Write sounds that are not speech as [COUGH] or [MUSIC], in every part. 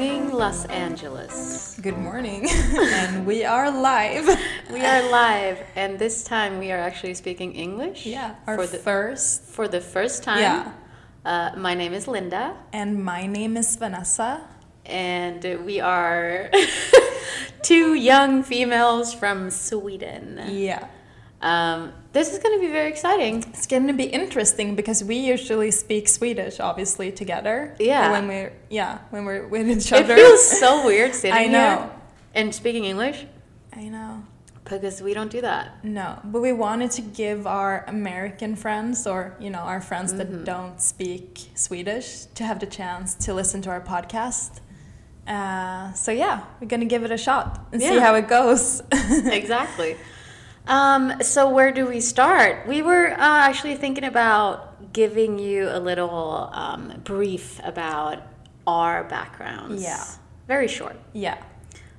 Los Angeles. Good morning, [LAUGHS] and we are live. We are live, and this time we are actually speaking English. Yeah, our for the first. for the first time. Yeah. Uh, my name is Linda, And my name is Vanessa. and we are [LAUGHS] two young females from Sweden. Yeah. Um, this is going to be very exciting. It's going to be interesting because we usually speak Swedish, obviously, together. Yeah. When we're yeah when we're with It each other. feels so weird sitting [LAUGHS] I know. here and speaking English I know. because we don't do that. No, but we wanted to give our American friends or you know our friends Mm-hmm. that don't speak Swedish to have the chance to listen to our podcast. Uh, so yeah, we're gonna give it a shot and see Yeah. how it goes. exactly. Um, so where do we start? We were uh, actually thinking about giving you a little um, brief about our backgrounds. Yeah. Very short. [LAUGHS] yeah.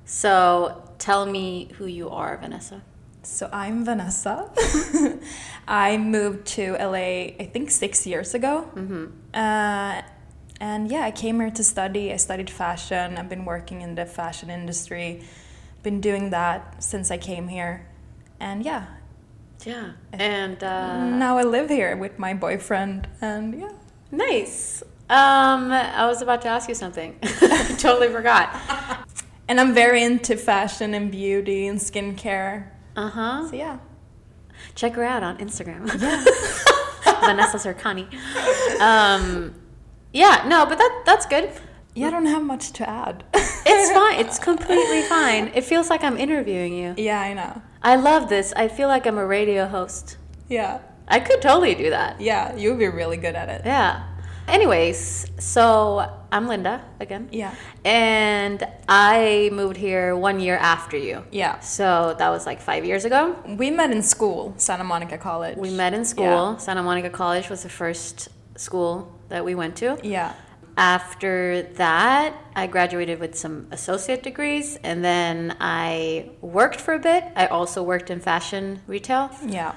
So tell me who you are, Vanessa. So I'm Vanessa. [LAUGHS] I moved to LA, I think, six years ago. Mm-hmm. Uh, and yeah, I came here to study. I studied fashion. I've been working in the fashion industry, been doing that since I came here. And yeah, Yeah. And uh, now I live here with my boyfriend. And yeah. nice. Um, I was about to ask you something. [LAUGHS] totally forgot. [LAUGHS] And I'm very into fashion and beauty and skincare. Uh huh. So yeah. Check her out on Instagram. [LAUGHS] Vanessa Zircani. Um, yeah. No, but that that's good. Yeah, I don't have much to add. It's fine. It's completely fine. It feels like I'm interviewing you. [LAUGHS] yeah, I know. I love this. I feel like I'm a radio host. Yeah. I could totally do that. Yeah, you'll be really good at it. Yeah. Anyways, so I'm Linda again. Yeah. And I moved here one year after you. Yeah. So that was like five years ago. We met in school, Santa Monica College. We met in school. Santa Monica College was the first school that we went to. Yeah. After that, I graduated with some associate degrees and then I worked for a bit. I also worked in fashion retail. Yeah.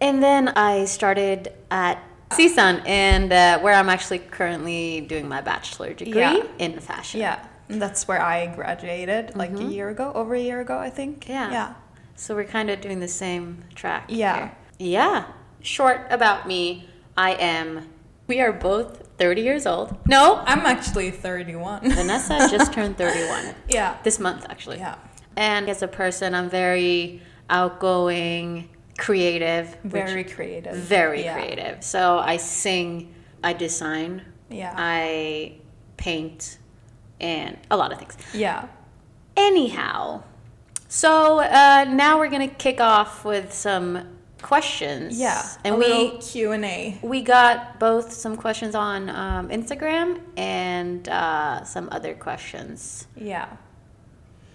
And then I started at CSUN, and uh, where I'm actually currently doing my bachelor degree Yeah. in fashion. Yeah. And that's where I graduated like a year ago, over a year ago, I think. Mm-hmm. Yeah. Yeah. So we're kind of doing the same track. Yeah. here. Yeah. Short about me, I am, we are both 30 years old. No, I'm actually 31. Vanessa just turned 31 [LAUGHS] yeah. this month, actually. Yeah. And as a person, I'm very outgoing, creative, which- Very creative. very Yeah. creative. So I sing, I design, Yeah. I paint, and a lot of things. yeah. Anyhow, so uh, now we're gonna kick off with some questions. Yeah. and a we little Q&A. we got both some questions on um, Instagram and uh, some other questions. Yeah.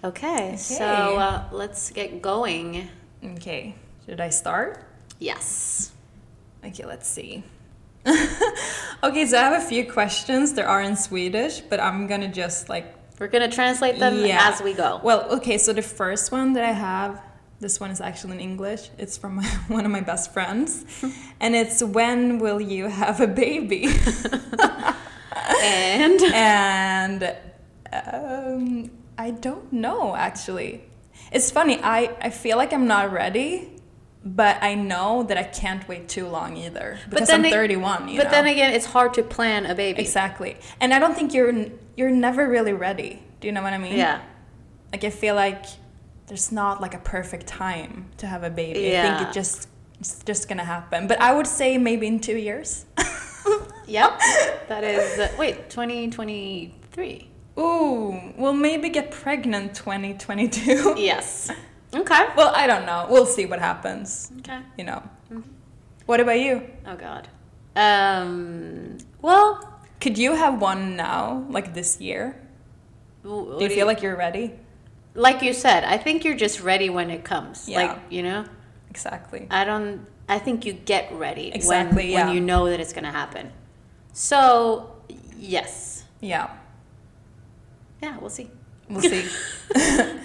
Okay, so Okay. uh, let's get going. Okay. Should I start? Yes. Okay, let's see. [LAUGHS] okay, so I have a few questions. There are in Swedish, but I'm going to just like We're gonna translate them as we go. Well, okay, so the first one that I have, this one is actually in English. It's from one of my [LAUGHS] best [LAUGHS] friends. and it's when will you have a [LAUGHS] baby? [LAUGHS] And and um, I don't know actually. It's funny, I, I feel like I'm not ready, but I know that I can't wait too long either. Because I'm it- 31, you but know? then again, it's hard to plan a baby. Exactly. And I don't think you're you're never really ready. Do you know what I mean? Yeah. Like I feel like there's not like a perfect time to have a baby. I think Yeah. it just it's just gonna happen. But I would say maybe in two [LAUGHS] years. Yep. [LAUGHS] That is uh, wait, 2023. Ooh, we'll maybe get pregnant 2022. Yes. Okay. Well, I don't know. We'll see what happens. Okay. You know. Mm-hmm. What about you? Oh god. Um well, Could you have one now, like this year? w- what Do you feel like you're ready? like you said, I think you're just ready when it comes. Yeah. Like, you know? Exactly. I don't I think you get ready when- Exactly, when, yeah. you know that it's going to happen. So, yes. Yeah. Yeah, we'll see. [LAUGHS] We'll [LAUGHS] see.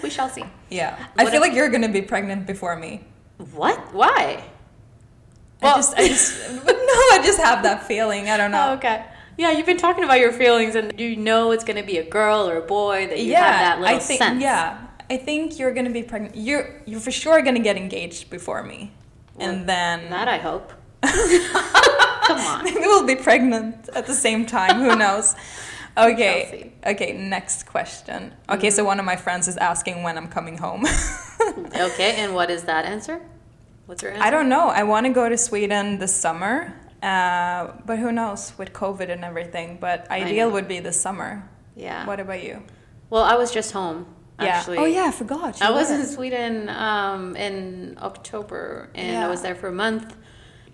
We shall see. Yeah. I What feel if- like you're gonna be pregnant before me. What? Why? [LAUGHS] [LAUGHS] I just, I just, but no, I just have that feeling. I don't know. Oh, okay. Yeah, you've been talking about your feelings, and you know it's going to be a girl or a boy that Oh, you have that little I think, sense. Yeah, I think you're gonna be pregnant. You're you're for sure gonna get engaged before me, Well, and then [LAUGHS] That I hope. Come on. we'll be pregnant at the same time. Who [LAUGHS] knows? Okay. Okay. Next question. Mm-hmm. Okay, so one of my friends is asking when I'm [LAUGHS] coming home. [LAUGHS] Okay, and what is that answer? What's your answer? I don't know. I want to go to Sweden this summer, uh, but who knows with COVID and everything. But ideal know. would be this summer. Yeah. What about you? Well, I was just home. Actually. Yeah. Oh yeah, I forgot. I you was were. in Sweden um, in October, and I Yeah. was there for a month.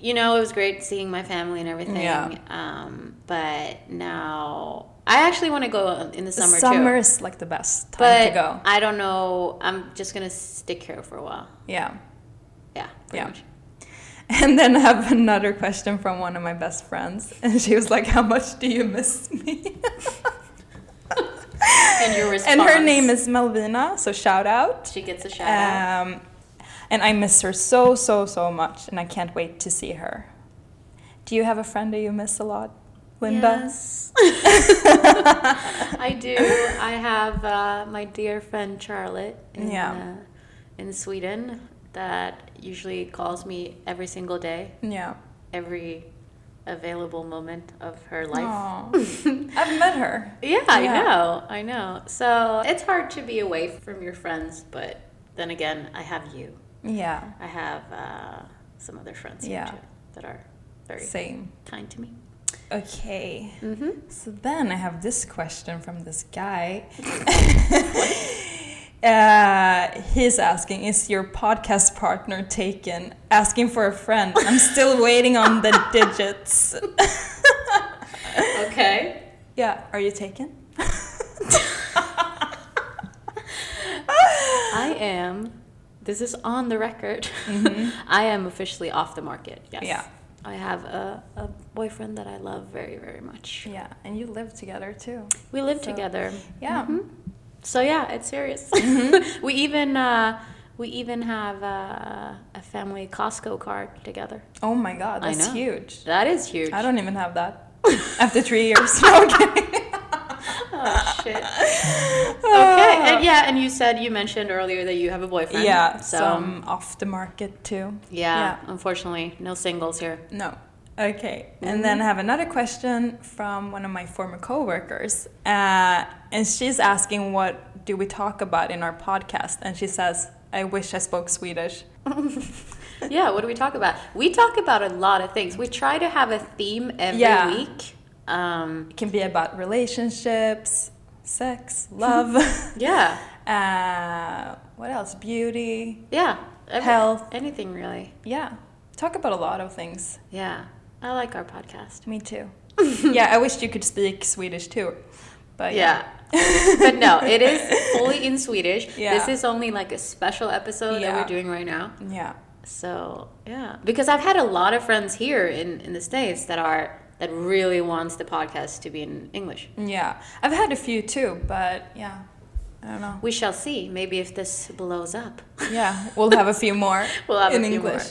You know, it was great seeing my family and everything. Yeah. Um, but now I actually want to go in the The summer, summer too. is like the best time But to go. I don't know. I'm just gonna stick here for a while. Yeah. [LAUGHS] Yeah. pretty Yeah. much. And then I have another question from one of my best friends. [LAUGHS] And she was like, How much do you miss me? And your response. [LAUGHS] and her name is Melvina, so shout out. She gets a shout out. Um, and I miss her so, so, so much. And I can't wait to see her. Do you have a friend that you miss a lot, Linda? [LAUGHS] Yes. I do. I have uh, my dear friend Charlotte in, Yeah. uh, in Sweden that usually calls me every single day, Yeah. every available moment of her life. [LAUGHS] Aw. I've met her. Yeah, I Yeah. know. I know. So it's hard to be away from your friends, but then again, I have you. Yeah. I have uh, some other friends Yeah. here too that are very Same. kind to me. Okay. Mm-hmm. So then I have this question from this [LAUGHS] guy. uh, he's asking, "Is your podcast partner taken?" Asking for a friend. I'm still waiting on [LAUGHS] the digits. Okay. Yeah, are you taken? [LAUGHS] I am. This is on the record. [LAUGHS] I am officially off the market. Yes. Mm-hmm. Yeah. I have a, a boyfriend that I love very, very much. Yeah, and you live together too. We live So- together. Yeah. Mm-hmm. So yeah, it's serious. Mm-hmm. [LAUGHS] we even uh, we even have uh, a family Costco card together. Oh my god, I that's know. huge. That is huge. [LAUGHS] I don't even have [LAUGHS] that. After three years, [LAUGHS] okay. Oh shit. [LAUGHS] okay. And yeah, and you said you mentioned earlier that you have a boyfriend. Yeah, So some off the market too. yeah, unfortunately, no singles here. No. Okay. And Mm-hmm. then I have another question from one of my former coworkers. Uh, and she's asking, what do we talk about in our podcast? And she says, I wish I spoke Swedish. yeah, what do we talk about? We talk about a lot of things. We try to have a theme every Yeah. week. Um, It can be about relationships, [LAUGHS] sex, love. yeah, [LAUGHS] uh, what else? Beauty. yeah. Every- Health. Anything really. Yeah. Talk about a lot of things. Yeah. I like our podcast. Me [LAUGHS] too. yeah, I wish you could speak Swedish too. But Yeah. but no, it is fully in Swedish. Yeah. This is only like a special episode that Yeah. we're doing right now. Yeah. So yeah, because I've had a lot of friends here in in the states that are that really wants the podcast to be in English. Yeah, I've had a few too, but yeah, I don't know. We shall see. Maybe if this blows up. Yeah, we'll have a few more [LAUGHS] We'll have a in few more. English.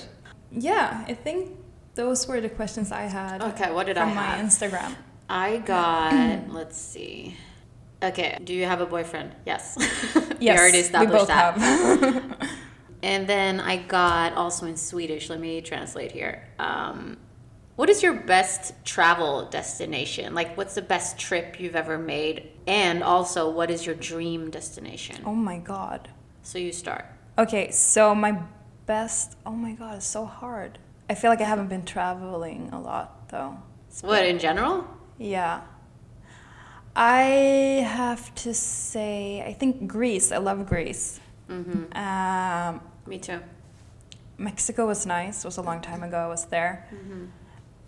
Yeah, I think those were the questions I had [LAUGHS] Okay, what did I from my have? Instagram. I got. let's see. Okay. Do you have a boyfriend? Yes. [LAUGHS] we Yes, already we established both that. [LAUGHS] have. [LAUGHS] And then I got also in Swedish. Let me translate here. Um, what is your best travel destination? Like, what's the best trip you've ever made? And also, what is your dream destination? oh my god. So you start. Okay, so my best. Oh my god, it's so hard. I feel like I haven't been traveling a lot though. What in general? Yeah. I have to say, I think Greece. I love Greece. Mm-hmm. Um, Me too. Mexico was nice. It was a long Mm-hmm. time ago. I was there.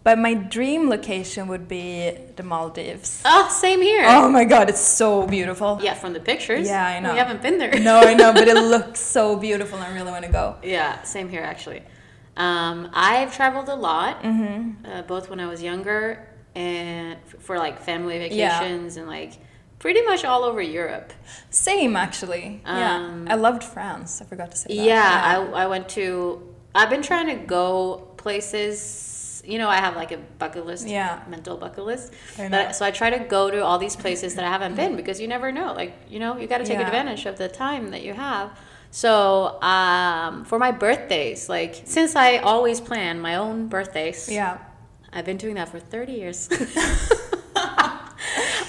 But my dream location would be the Maldives. Oh, same here. Oh my god, it's so beautiful. Yeah, from the pictures. Yeah, I know. We haven't been there. [LAUGHS] No, I know, but it looks so beautiful. and I really want to go. Yeah, same here actually. Um, I've traveled a lot, uh, both when I was younger and f- for like family Yeah. vacations and like pretty much all over Europe. Same, actually. Um, yeah, I loved France. I forgot to say that. yeah, I, I went to. I've been trying to go places you know, I have like a bucket list, Yeah. mental bucket list. But I know. so I try to go to all these places that I haven't [LAUGHS] been because you never know. Like, you know, you got to take Yeah. advantage of the time that you have. So um, for my birthdays, like since I always plan my own birthdays, Yeah. I've been doing that for 30 [LAUGHS] years. [LAUGHS] I,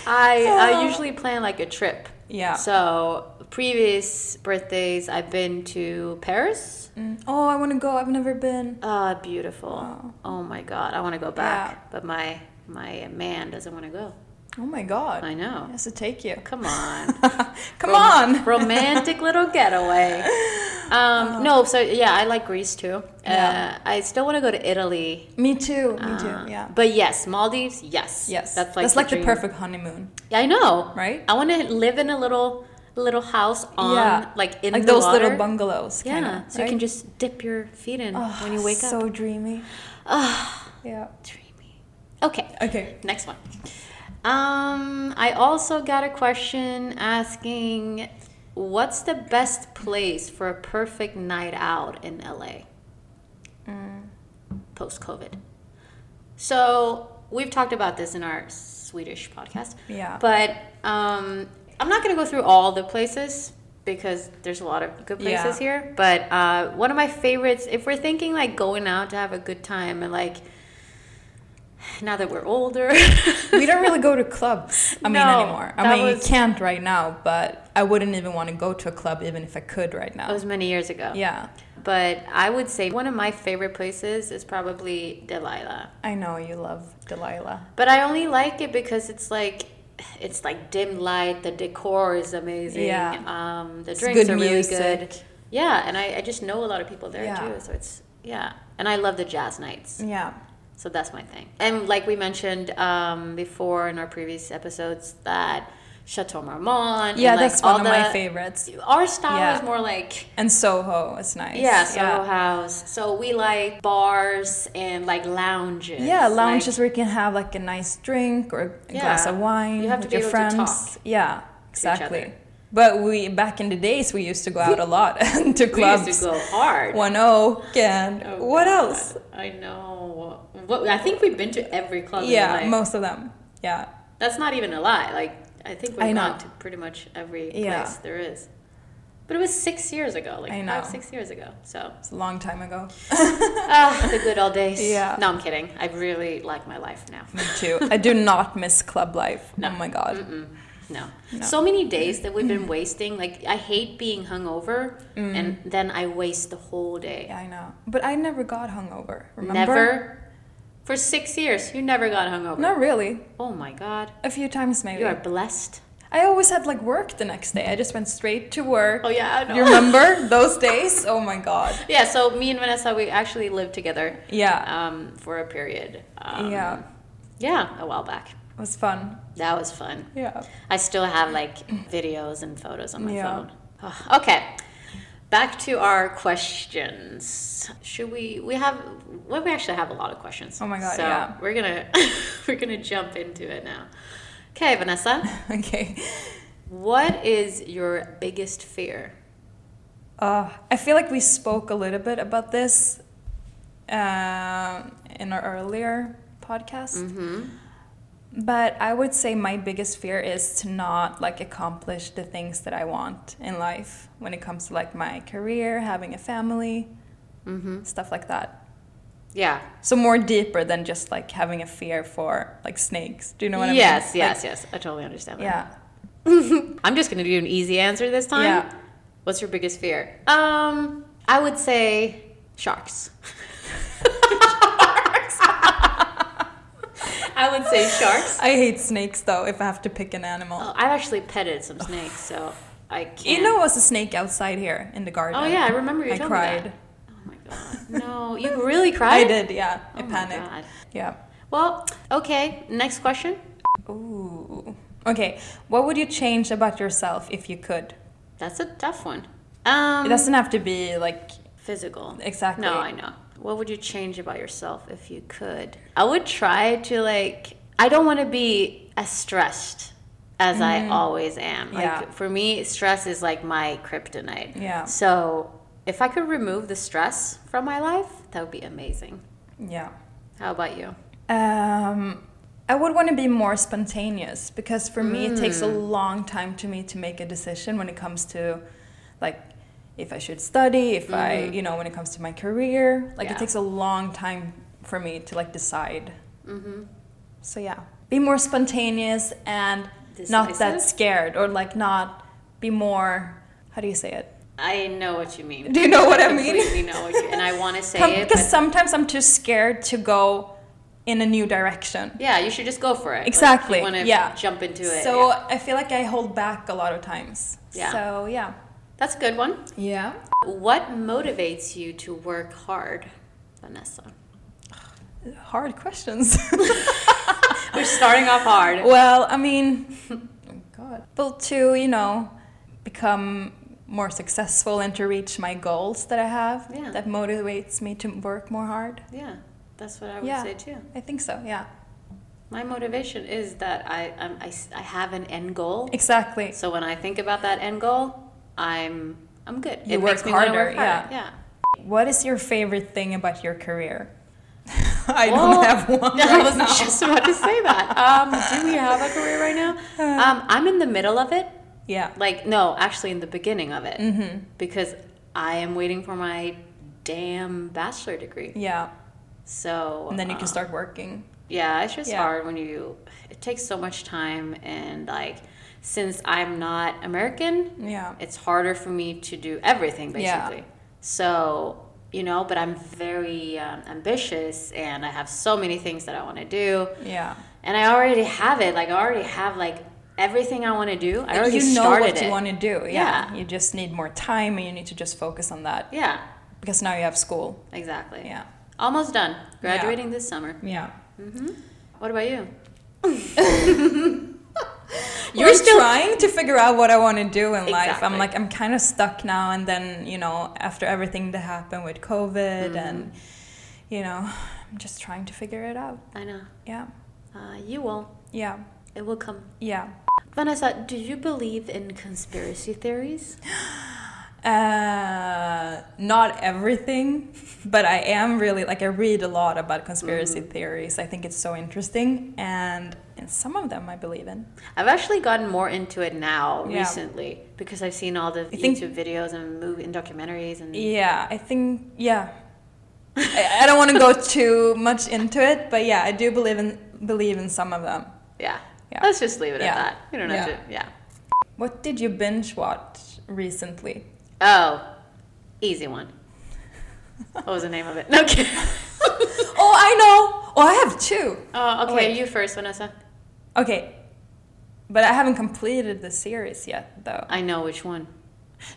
[LAUGHS] I usually plan like a trip. Yeah. So previous birthdays, I've been to Paris. Mm. Oh, I want to go. I've never been. Ah, beautiful. Wow. Oh my God, I want to go back, Yeah. but my my man doesn't want to go. Oh my god. I know. It has to take you. [LAUGHS] Come on. Come Rom- on. romantic little [LAUGHS] getaway. Um, No, so yeah, I like Greece too. Oh. Yeah. Uh, I still want to go to Italy. [LAUGHS] me too. Me Uh, too. Yeah. But yes, Maldives, yes. Yes. That's like, the, dream. perfect honeymoon, Yeah, I know. right? I want to live in a little little house on like in like the those water. little bungalows. Yeah, Kinda, so you can just dip your feet in Oh, when you wake so up. dreamy. Ah, Yeah. dreamy. Okay, Okay. next one. Um, I also got a question asking, what's the best place for a perfect night out in LA? Mm. post COVID. So we've talked about this in our Swedish podcast. Yeah. But um, I'm not going to go through all the places because there's a lot of good Yeah. places here. But uh, one of my favorites, if we're thinking like going out to have a good time and like now that we're older, [LAUGHS] we don't really go to clubs. I mean, No, anymore. I that mean, was- you can't right now, but I wouldn't even want to go to a club even if I could right [LAUGHS] now. That was many years ago. yeah. But I would say one of my favorite places is probably Delilah. I know you love Delilah. But I only like it because it's like it's like dim light. The decor is amazing. Yeah. Um, the It's drinks good are really music. good. Yeah, and I, I just know a lot of people there Yeah. too. So it's yeah, and I love the jazz nights. Yeah. So that's my thing. And like we mentioned um, before in our previous episodes, that Chateau Marmont. Yeah, and, like, that's all one of my the- favorites. Our style Yeah. is more like. And Soho is nice. Yeah, Soho House. So we like bars and like lounges. Yeah, like- lounges where you can have like a nice drink or a glass Yeah. of wine You have to with be your able friends. to Yeah, each other. exactly. But we back in the days we used to go [LAUGHS] out a lot [LAUGHS] and to we clubs. used to go hard. [LAUGHS] One Oak and Oh, what God. else? I know. What I think we've been to every club. Yeah, in LA. most of them. Yeah. that's not even a lie. Like I think I we've know. gone to pretty much every Yeah. place there is. But it was six years ago, like I five, know. six years ago. [LAUGHS] So It's a long time ago. ah, the good old days. Yeah. No, I'm kidding. I really like my life [LAUGHS] now. Me too. [LAUGHS] I do not miss club life. Oh my god. No. No. so many days that we've been wasting. Like I hate being hungover, and then I waste the whole day. Mm. Yeah, I know. But I never got hungover. Remember? Never. For six years, you never got hungover. Not really. Oh my God, A few times maybe. you are blessed. I always had like work the next day. I just went straight to work. Oh yeah, I know. You remember those days? Oh my god. Yeah, so me and Vanessa, we actually lived together Yeah. um, for a period. Um, yeah. Yeah, a while back. It was fun. That was fun. Yeah. I still have like [CLEARS THROAT] videos and photos on my Yeah. phone. Ugh, okay, back to our questions. Should we? We have. Well, we actually have a lot of questions. Oh my God, So yeah. we're gonna [LAUGHS] we're gonna jump into it now. Okay, Vanessa, [LAUGHS] Okay. what is your biggest fear? Uh, I feel like we spoke a little bit about this um in our earlier podcast. Mm-hmm. But I would say my biggest fear is to not like accomplish the things that I want in life when it comes to like my career, having a family, Mm-hmm. stuff like that. Yeah. So more deeper than just like having a fear for like snakes. Do you know what I mean? yes, Like, yes, yes. I totally understand that. Yeah. [LAUGHS] I'm just gonna do an easy answer this time. Yeah. What's your biggest fear? Um, I would say sharks. [LAUGHS] I would say sharks. I hate snakes though. If I have to pick an animal, Oh, I've actually petted some snakes, so I can't. you know, it was a snake outside here in the garden. Oh yeah, I remember you. I told me that. cried. Oh my god. No, you really [LAUGHS] I cried. did. Yeah, I Oh my panicked. God. Yeah. Well, okay. Next question. Ooh. Okay. What would you change about yourself if you could? That's a tough one. Um, It doesn't have to be like physical. exactly. No, I know. What would you change about yourself if you could? I would try to like I don't want to be as stressed as I always am. Like Mm-hmm. Yeah. for me, stress is like my kryptonite. Yeah. So, if I could remove the stress from my life, that would be amazing. Yeah. How about you? Um, I would want to be more spontaneous because for me Mm. it takes a long time to me to make a decision when it comes to like if I should study, if I you know when it comes to my career, like Mm-hmm. Yeah. it takes a long time for me to like decide. Mm-hmm. So yeah, be more spontaneous and not that Decisive? scared or like not be more how do you say it? [LAUGHS] I know what you mean. Do you know what I mean? completely know what you and I [LAUGHS] want to say Com- it, because but sometimes I'm too scared to go in a new direction. yeah, you should just go for it. Like, Exactly, you want to yeah. jump into it. So yeah. I feel like I hold back a lot of times. Yeah. So yeah. that's a good one. Yeah. What motivates you to work hard, Vanessa? [LAUGHS] Hard questions. [LAUGHS] We're starting off hard. well, I mean, oh God. But to you know, become more successful and to reach my goals that I have. Yeah. That motivates me to work more hard. Yeah, that's what I would Yeah. say too. I think so. Yeah. My motivation is that I, um, I s- I have an end goal. Exactly. So when I think about that end goal, I'm I'm good. You it work makes me wanna harder, work yeah. harder. Yeah. What is your favorite thing about your career? [LAUGHS] I Well, don't have [LAUGHS] one I right was now. just about to say [LAUGHS] that. Um, do we have a career right [SIGHS] now? Um, I'm in the middle of it. Yeah. Like, no, actually, in the beginning of it, Mm-hmm. because I am waiting for my damn bachelor degree. Yeah. So And then you uh, can start working. Yeah, it's just Yeah. hard when you. It takes so much time, and like, since I'm not American, Yeah. it's harder for me to do everything Yeah. basically. So, you know, but I'm very um, ambitious and I have so many things that I want to do. Yeah. And I already have it. Like, I already have like everything I want to do. I already you know started what you it. want to do. Yeah. Yeah. You just need more time and you need to just focus on that yeah, because now you have school. exactly. Yeah. Almost done. Graduating this summer. Yeah. What about you? You're still trying to figure out what I want to do in life. I'm Exactly. like I'm kind of stuck now and then, you know, after everything that happened with COVID Mm-hmm. and you know, I'm just trying to figure it out. I know. Yeah. Uh, you will. Yeah. It will come. Yeah. Vanessa, do you believe in conspiracy theories? Uh, not everything, [LAUGHS] but I am really like I read a lot about conspiracy Mm-hmm. theories. I think it's so interesting, and and some of them I believe in. I've actually gotten more into it now Yeah. recently because I've seen all the You think- YouTube videos and movie and documentaries and Yeah, I think yeah. I, I don't want to [LAUGHS] go too much into it, but yeah, I do believe in believe in some of them. yeah. Yeah. Let's just leave it Yeah. at that. We don't have Yeah. to. Yeah. What did you binge watch recently? Oh, easy one. what was the name of it? No [LAUGHS] kidding. Oh, I know. Oh, I have two. Oh, okay. Wait. you first, Vanessa. Okay, but I haven't completed the series yet, though. I know which one.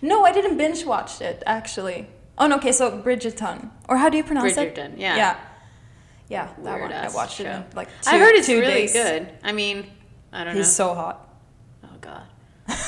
No, I didn't binge watch it actually. Oh no, okay, so Bridgerton, or how do you pronounce it? Bridgerton, yeah. yeah, yeah. That one I Weird-ass watched it show. in like two, I heard it's two really days. good. I mean, I don't know. He's so hot. oh God. [LAUGHS]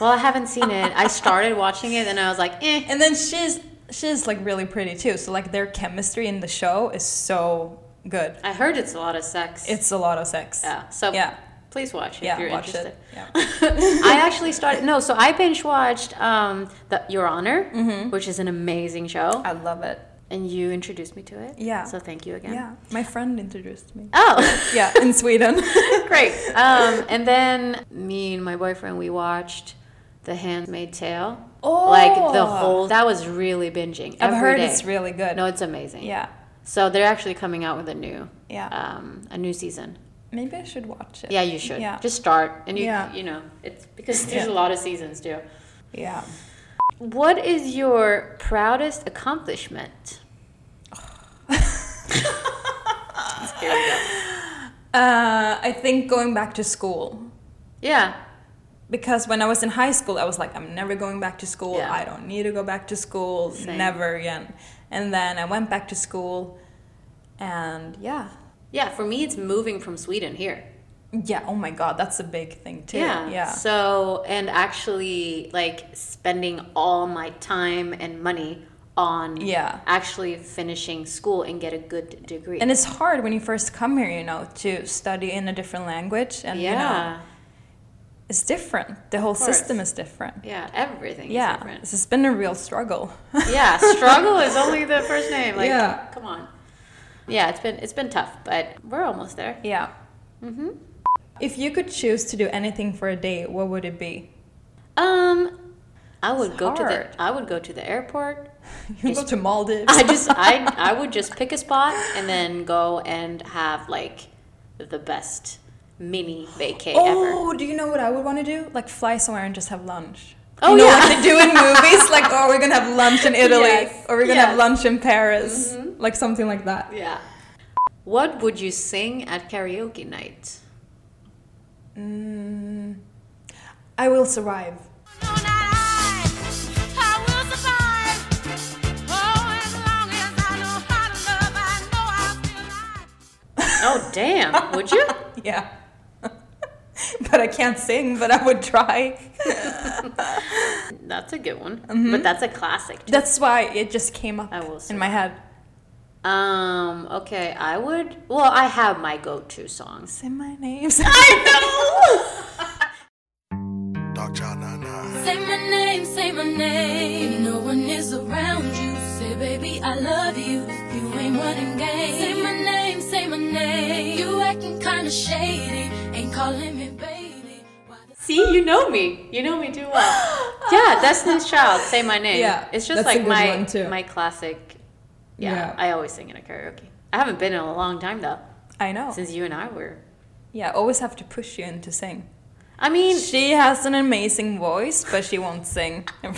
Well, I haven't seen it. I started watching it and I was like, eh. And then she's she's like really pretty too. So like their chemistry in the show is so good. I heard it's a lot of sex. It's a lot of sex. yeah. So yeah, please watch if yeah. you're watch interested. it. [LAUGHS] Yeah. [LAUGHS] I actually started no, so I binge watched um, the Your Honor, Mm-hmm. which is an amazing show, I love it. and you introduced me to it. Yeah. So thank you again. Yeah, my friend introduced me. Oh, [LAUGHS] Yeah, in Sweden. great. Um, and then me and my boyfriend we watched The Handmaid's Tale. Oh. Like the whole that was really binging. I've every heard day. it's really good. no, it's amazing. Yeah, So they're actually coming out with a new, Yeah. um, a new season. maybe I should watch it. Yeah, you should. Yeah. Just start, and you Yeah. you know it's because there's Yeah. a lot of seasons too. Yeah. What is your proudest [LAUGHS] accomplishment? Here we go. Uh, I think going back to school. Yeah, Because when I was in high school, I was like, I'm never going back to school. Yeah. I don't need to go back to school. Same. Never again. And then I went back to school. And yeah. yeah. For me, it's moving from Sweden here. Yeah. Oh my God. That's a big thing, too. Yeah. Yeah. So and actually, like spending all my time and money on Yeah. actually finishing school and get a good degree. And it's hard when you first come here, you know, to study in a different language. And, you know, yeah, it's different. The whole course. system is different. yeah. Everything. Is yeah. different. This has been a real struggle. [LAUGHS] Yeah, struggle is only the first name. Like, Yeah. come on. Yeah, it's been it's been tough, but we're almost there. Yeah. Mhm. If you could choose to do anything for a day, what would it be? Um, I would It's go to hard. the I would go to the airport. [LAUGHS] You go to Maldives. I just I I would just pick a spot and then go and have like the best mini vacay ever. Oh, do you know what I would want to do? Like fly somewhere and just have lunch. Oh, you know, yeah. [LAUGHS] like they do [LAUGHS] in movies, like oh, we're gonna have lunch in Italy, Yes, or we're gonna yes. have lunch in Paris, like something like that. Yeah. What would you sing at karaoke night? Mm, I will survive. Oh damn! Would [LAUGHS] you? Yeah, but I can't sing, but I would try. That's a good one, Mm-hmm. but that's a classic. too. [LAUGHS] That's why it just came up I will in my head. Um. Okay. I would. Well, I have my go-to songs. Say my name. [LAUGHS] Dark Child 99. Say my name, say my name. No one is around you. Say, baby, I love you. You ain't running game. Say my name, say my name. You acting kinda shady. Ain't calling me baby. Why the [LAUGHS] See, you know me. You know me too well. yeah, [LAUGHS] Destiny's Child. Say my name. Yeah, It's just that's a like good my one, too. my classic. Yeah, [LAUGHS] Yeah. I always sing in a karaoke. I haven't been in a long time though, I know. since you and I were. Yeah, always have to push you into sing. I mean, She has an amazing voice, but she won't sing. [LAUGHS] in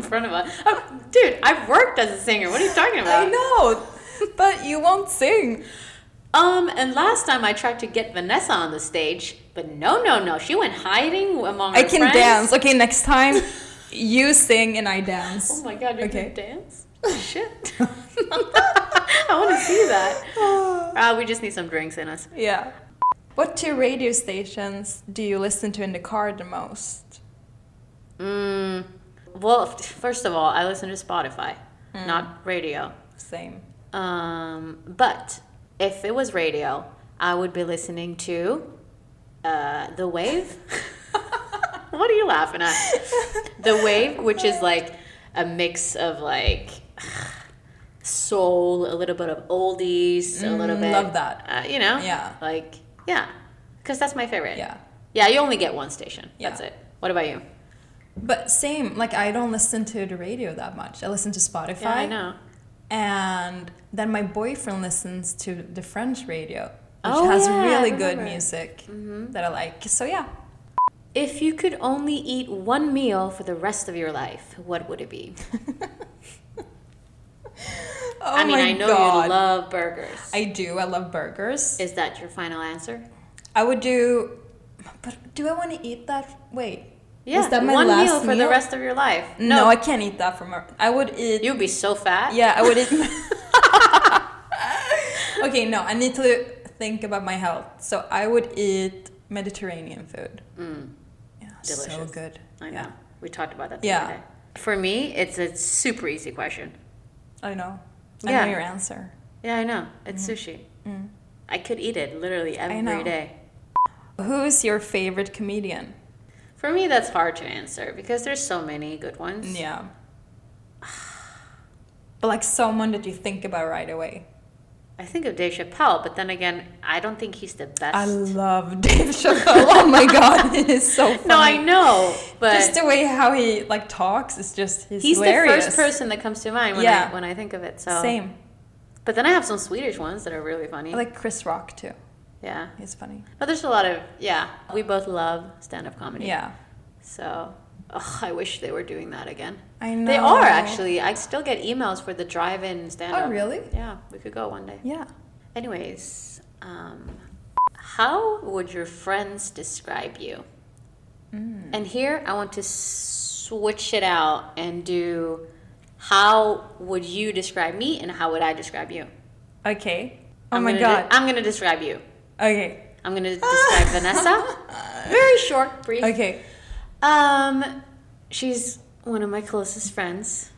front of us. Oh, dude, I've worked as a singer. What are you talking about? I know, but you won't sing. Um, and last time I tried to get Vanessa on the stage, but no, no, no. She went hiding among her I can friends. dance. Okay, next time you sing and I dance. Oh my god, you Okay. can dance? Shit. [LAUGHS] I want to see that. Uh, we just need some drinks in us. Yeah. What two radio stations do you listen to in the car the most? Mm, well, f- first of all, I listen to Spotify, not radio. [LAUGHS] Same. Um, but if it was radio, I would be listening to uh, The Wave. [LAUGHS] what are you laughing at? The Wave, which is like a mix of like soul, a little bit of oldies, a little Mm, bit. love that. Uh, you know? Yeah. Like, yeah. Because that's my favorite. Yeah. Yeah, you only get one station. Yeah. That's it. What about you? But same, like I don't listen to the radio that much. I listen to Spotify. Yeah, I know. And then my boyfriend listens to the French radio, which Oh, has yeah, I really good remember. Mm-hmm. music that I like. So yeah. If you could only eat one meal for the rest of your life, what would it be? Oh I mean, my I know God. you love burgers. I do. I love burgers. Is that your final answer? I would do, but do I want to eat that? Wait, Yeah, that my one meal last for the meal? rest of your life. no, No, I can't eat that from. a- I would eat. you'd be so fat. yeah, I [LAUGHS] would eat. [LAUGHS] okay, no, I need to think about my health. So I would eat Mediterranean food. Yeah, so Mm. Delicious. good. I know. Yeah, We talked about that. The Yeah. other day. For me, it's a super easy question. I know. I Yeah. know your answer. Yeah, I know. It's sushi. I could eat it literally Mm-hmm. know. every day. Who's your favorite comedian? For me, that's hard to answer because there's so many good ones. Yeah. But like someone that you think about right away. I think of Dave Chappelle, but then again, I don't think he's the best. [LAUGHS] I love [LAUGHS] Dave Chappelle. Oh my god, it is so [LAUGHS] funny. no, I know, but just the way how he like talks is just he's, he's hilarious. the first person that comes to mind when Yeah. I when I think of it. So Same. But then I have some Swedish ones that are really funny. I like Chris Rock too. yeah. He's funny. But there's a lot of yeah. We both love stand-up comedy. Yeah. So ugh, I wish they were doing that again. I know. They are actually. I still get emails for the drive-in stand-up. Oh, really? Yeah, we could go one day. Yeah. Anyways, um, how would your friends describe you? Mm. And here I want to switch it out and do how would you describe me and how would I describe you? Okay. Oh I'm my gonna god. de- I'm gonna describe you. okay. I'm gonna [LAUGHS] describe Vanessa. Very short, brief. Okay. Um, she's one of my closest friends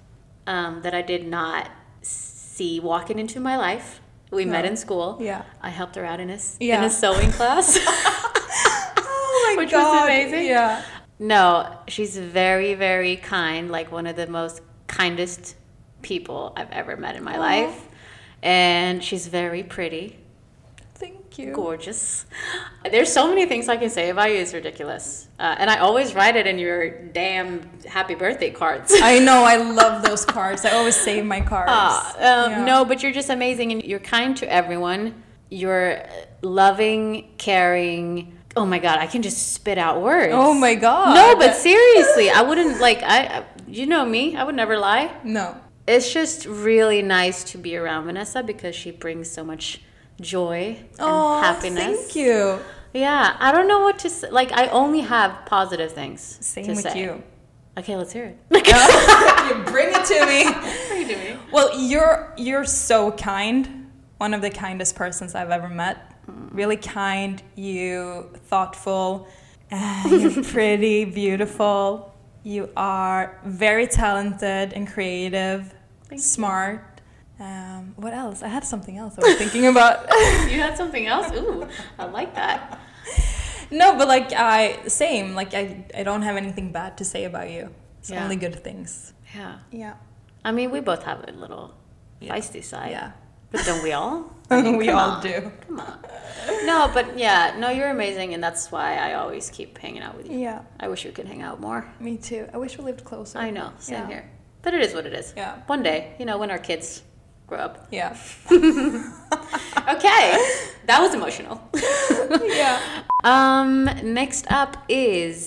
um, that I did not see walking into my life. We met No. in school. Yeah. I helped her out in a, s- in Yeah. a sewing class. [LAUGHS] Oh my [LAUGHS] Which was god. amazing. Yeah. no, she's very, very kind, like one of the most kindest people I've ever met in my life. and she's very pretty, Thank you. gorgeous. There's so many things I can say about you. It's ridiculous, uh, and I always write it in your damn happy birthday cards. [LAUGHS] I know. I love those cards. I always save my cards. Ah, um, Yeah. No, but you're just amazing and you're kind to everyone. You're loving, caring. Oh my God, I can just spit out words. Oh my god. No, but seriously, I wouldn't like, I, I- you know me, I would never lie. no. It's just really nice to be around Vanessa because she brings so much joy and Oh, happiness. Thank you. Yeah, I don't know what to say. Like, I only have positive things. Same to with say. you. Okay, let's hear it. [LAUGHS] you bring it to [LAUGHS] me. Well, you're you're so kind. One of the kindest persons I've ever met. Really kind. You thoughtful. [LAUGHS] Ah, you're pretty, beautiful. You are very talented and creative. smart. Um, what else? I had something else I was thinking [LAUGHS] about. you had something else? Ooh, I like that. No, but like I same. Like I I don't have anything bad to say about you. It's Yeah. only good things. Yeah. Yeah. I mean, we both have a little feisty side. Yeah. But don't we [LAUGHS] all? we come on. all do. No, but yeah, no, you're amazing, and that's why I always keep hanging out with you. Yeah. I wish we could hang out more. Me too. I wish we lived closer. I know, same Yeah. here. But it is what it is. Yeah. One day, you know, when our kids grow up. [LAUGHS] Yeah. Okay, [LAUGHS] that was emotional. [LAUGHS] yeah. um, next up is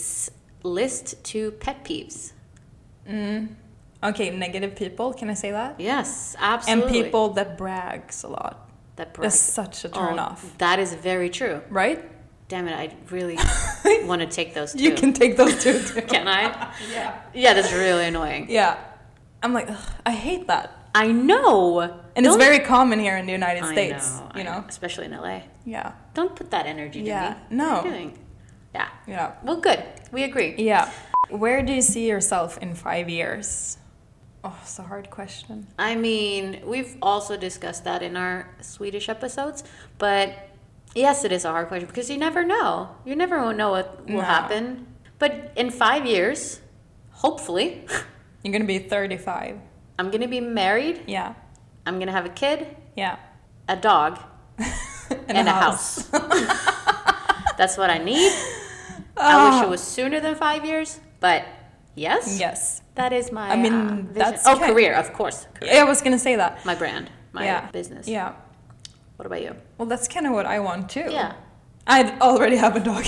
list two pet peeves. Okay, negative people, can I say that? Yes, absolutely. And people that brags a lot. that brag. That's such a turn Oh. off. That is very true. Right? Damn it, I [LAUGHS] really want to take those two. You can take those two too. [LAUGHS] Can I? yeah. Yeah, that's really annoying. yeah. I'm like, ugh, I hate that. I know. And Don't- it's very common here in the United I States, know, I you know? especially in LA. Yeah. Don't put that energy to Yeah. me. No. What are you doing? Yeah. Yeah. Well, good. We agree. Yeah. Where do you see yourself in five years? Oh, it's a hard question. I mean, we've also discussed that in our Swedish episodes, but yes, it is a hard question because you never know. You never will know what will No. happen. But in five years, hopefully, [LAUGHS] You're gonna be 35. I'm gonna be married. Yeah. I'm gonna have a kid, Yeah. a dog, And, and a house. [LAUGHS] That's what I need. I wish it was sooner than five years, but yes, Yes. that is my. I mean, uh, vision. that's oh, kind- career, of course, career. I was gonna say that. my brand, my yeah. business. Yeah. What about you? Well, that's kind of what I want too. Yeah, I already have a [LAUGHS] dog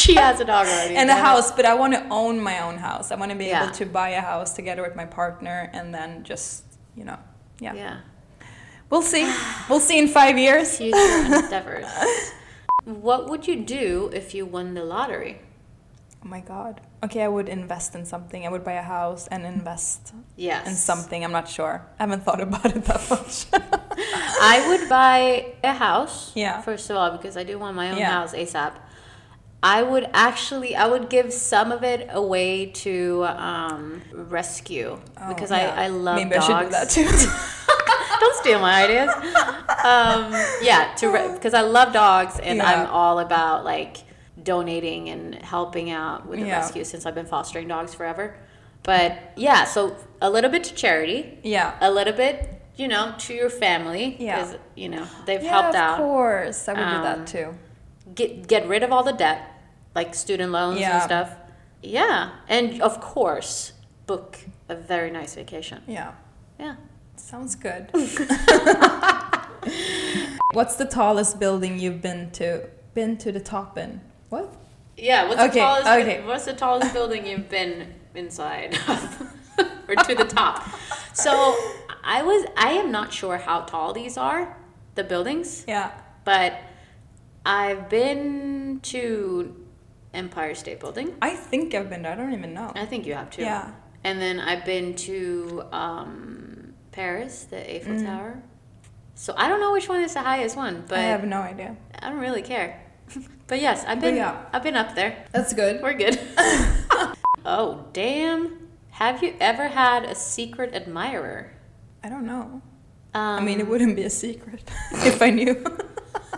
she has a dog already and a damn it. house, but I want to own my own house. I want to be Yeah. able to buy a house together with my partner and then just, you know, yeah. Yeah, We'll [SIGHS] see. We'll see in five years. future endeavors. What would you do if you won the lottery? Oh my God. Okay, I would invest in something. I would buy a house and invest Yes, in something. I'm not sure. I haven't thought about it that much. [LAUGHS] Oh, I would buy a house. Yeah. First of all, because I do want my own Yeah. house ASAP. I would actually, I would give some of it away to um, rescue Oh, because yeah. I, I love Maybe dogs. I should do that [LAUGHS] too. [LAUGHS] Don't steal my ideas. Um, yeah, to because I love dogs and Yeah. I'm all about like donating and helping out with the Yeah. rescue since I've been fostering dogs forever. But yeah, so a little bit to charity yeah. a little bit, you know, to your family. Yeah. Because, you know, they've yeah, helped of out. course. I would do Um, that too. Get get rid of all the debt, like student loans and Yeah. stuff. Yeah. And of course, book a very nice vacation. Yeah. Yeah. Sounds [LAUGHS] good. What's the tallest building you've been to? Been to the top in? What? Yeah. What's Okay, the tallest okay. what's the tallest building you've been inside of? [LAUGHS] or to [LAUGHS] the top? So I was I am not sure how tall these are, the buildings. Yeah. But I've been to Empire State Building. I think I've been there. I don't even know. I think you have too. Yeah. And then I've been to um, Paris, the Eiffel Tower. So I don't know which one is the highest one, but Mm. I I, have no idea. don't really care. but yes, I've been yeah. I've been up there. That's good. [LAUGHS] We're good. [LAUGHS] oh damn! Have you ever had a secret admirer? I don't know. Um, I mean, it wouldn't be a secret [LAUGHS] if I knew. [LAUGHS]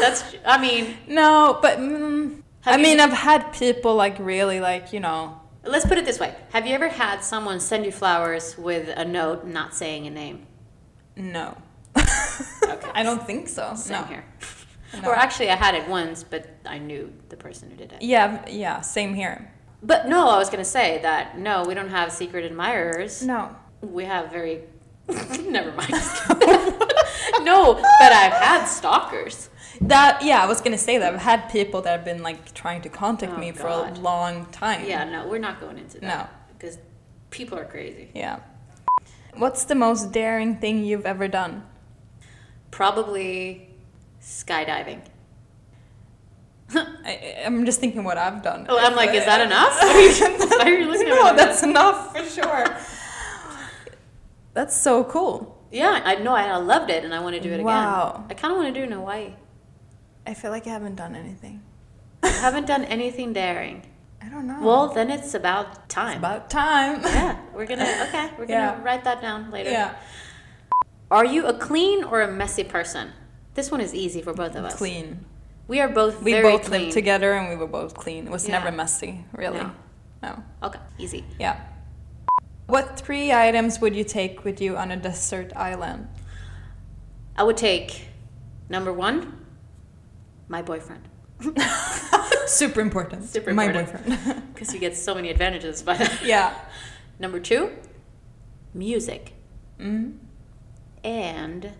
that's I mean, no, but mm, I Have you- mean, I've had people like really like you know. Let's put it this way. Have you ever had someone send you flowers with a note not saying a name? No, Okay. [LAUGHS] I don't think so. Same no. here. [LAUGHS] No. Or actually, I had it once, but I knew the person who did it. Yeah, yeah, same here. But no, I was going to say that no, we don't have secret admirers. No. We have very. [LAUGHS] Never mind. [LAUGHS] no, but I've had stalkers. That yeah, I was gonna say that I've had people that have been like trying to contact Oh, me God. for a long time. Yeah, no, we're not going into that. No. Because people are crazy. Yeah. What's the most daring thing you've ever done? Probably skydiving. [LAUGHS] I, I'm just thinking what I've done. Oh, I'm like, is that enough? [LAUGHS] Why are you looking at me no, like that's enough for sure. that's so cool. Yeah, I know. I I loved it, and I want to do it again. Wow. I kind of want to do it in Hawaii. I feel like I haven't done anything. I haven't done anything daring. [LAUGHS] I don't know. Well, then it's about time. it's about time. [LAUGHS] yeah, we're gonna okay. We're Yeah. gonna write that down later. yeah. Are you a clean or a messy person? This one is easy for both of us. Clean. We are both We very both clean. lived together and we were both clean. It was Yeah. never messy, really. No. no. Okay, easy. Yeah. What three items would you take with you on a desert island? I would take number one, my boyfriend, [LAUGHS] Super important. Super My important. boyfriend. [LAUGHS] because you get so many advantages by that. yeah. [LAUGHS] Number two, music. Mm. And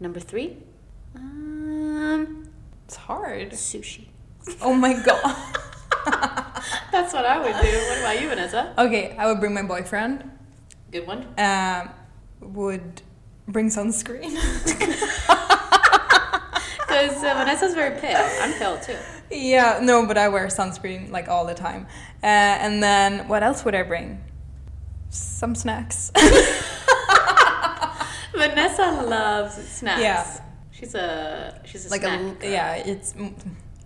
number three, um, It's hard. sushi. [LAUGHS] Oh my god. [LAUGHS] [LAUGHS] That's what I would do. What about you, Vanessa? Okay, I would bring my boyfriend. Good one. Um, would bring sunscreen. [LAUGHS] Because uh, Vanessa's very pale. I'm pale too. yeah, no, but I wear sunscreen like all the time. Uh, and then what else would I bring? Some snacks. [LAUGHS] Vanessa loves snacks. Yeah. She's a she's a like snack. a yeah, it's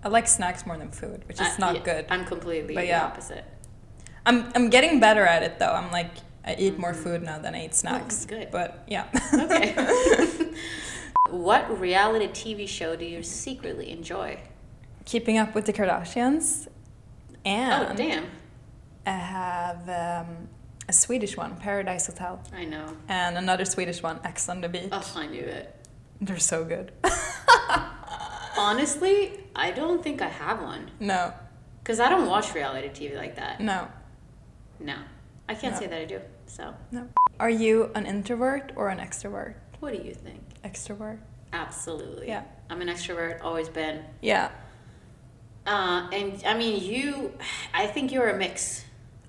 I like snacks more than food, which is I- not yeah, good. I'm completely But the yeah. opposite. I'm I'm getting better at it though. I'm like I eat more food now than I eat snacks. Mm-hmm. Oh, good. But yeah. Okay. what reality TV show do you secretly enjoy? [LAUGHS] Keeping up with the Kardashians. And oh damn! I have um, a Swedish one, Paradise Hotel, I know. and another Swedish one, X on the Beach. Oh, I knew it. They're so good. [LAUGHS] Honestly, I don't think I have one no, because I don't watch reality TV like that. no, No, I can't No. say that I do. So, no. Are you an introvert or an extrovert? what do you think? Extrovert. Absolutely. Yeah. I'm an extrovert. Always been. Yeah. Uh, and I mean, you. I think you're a mix.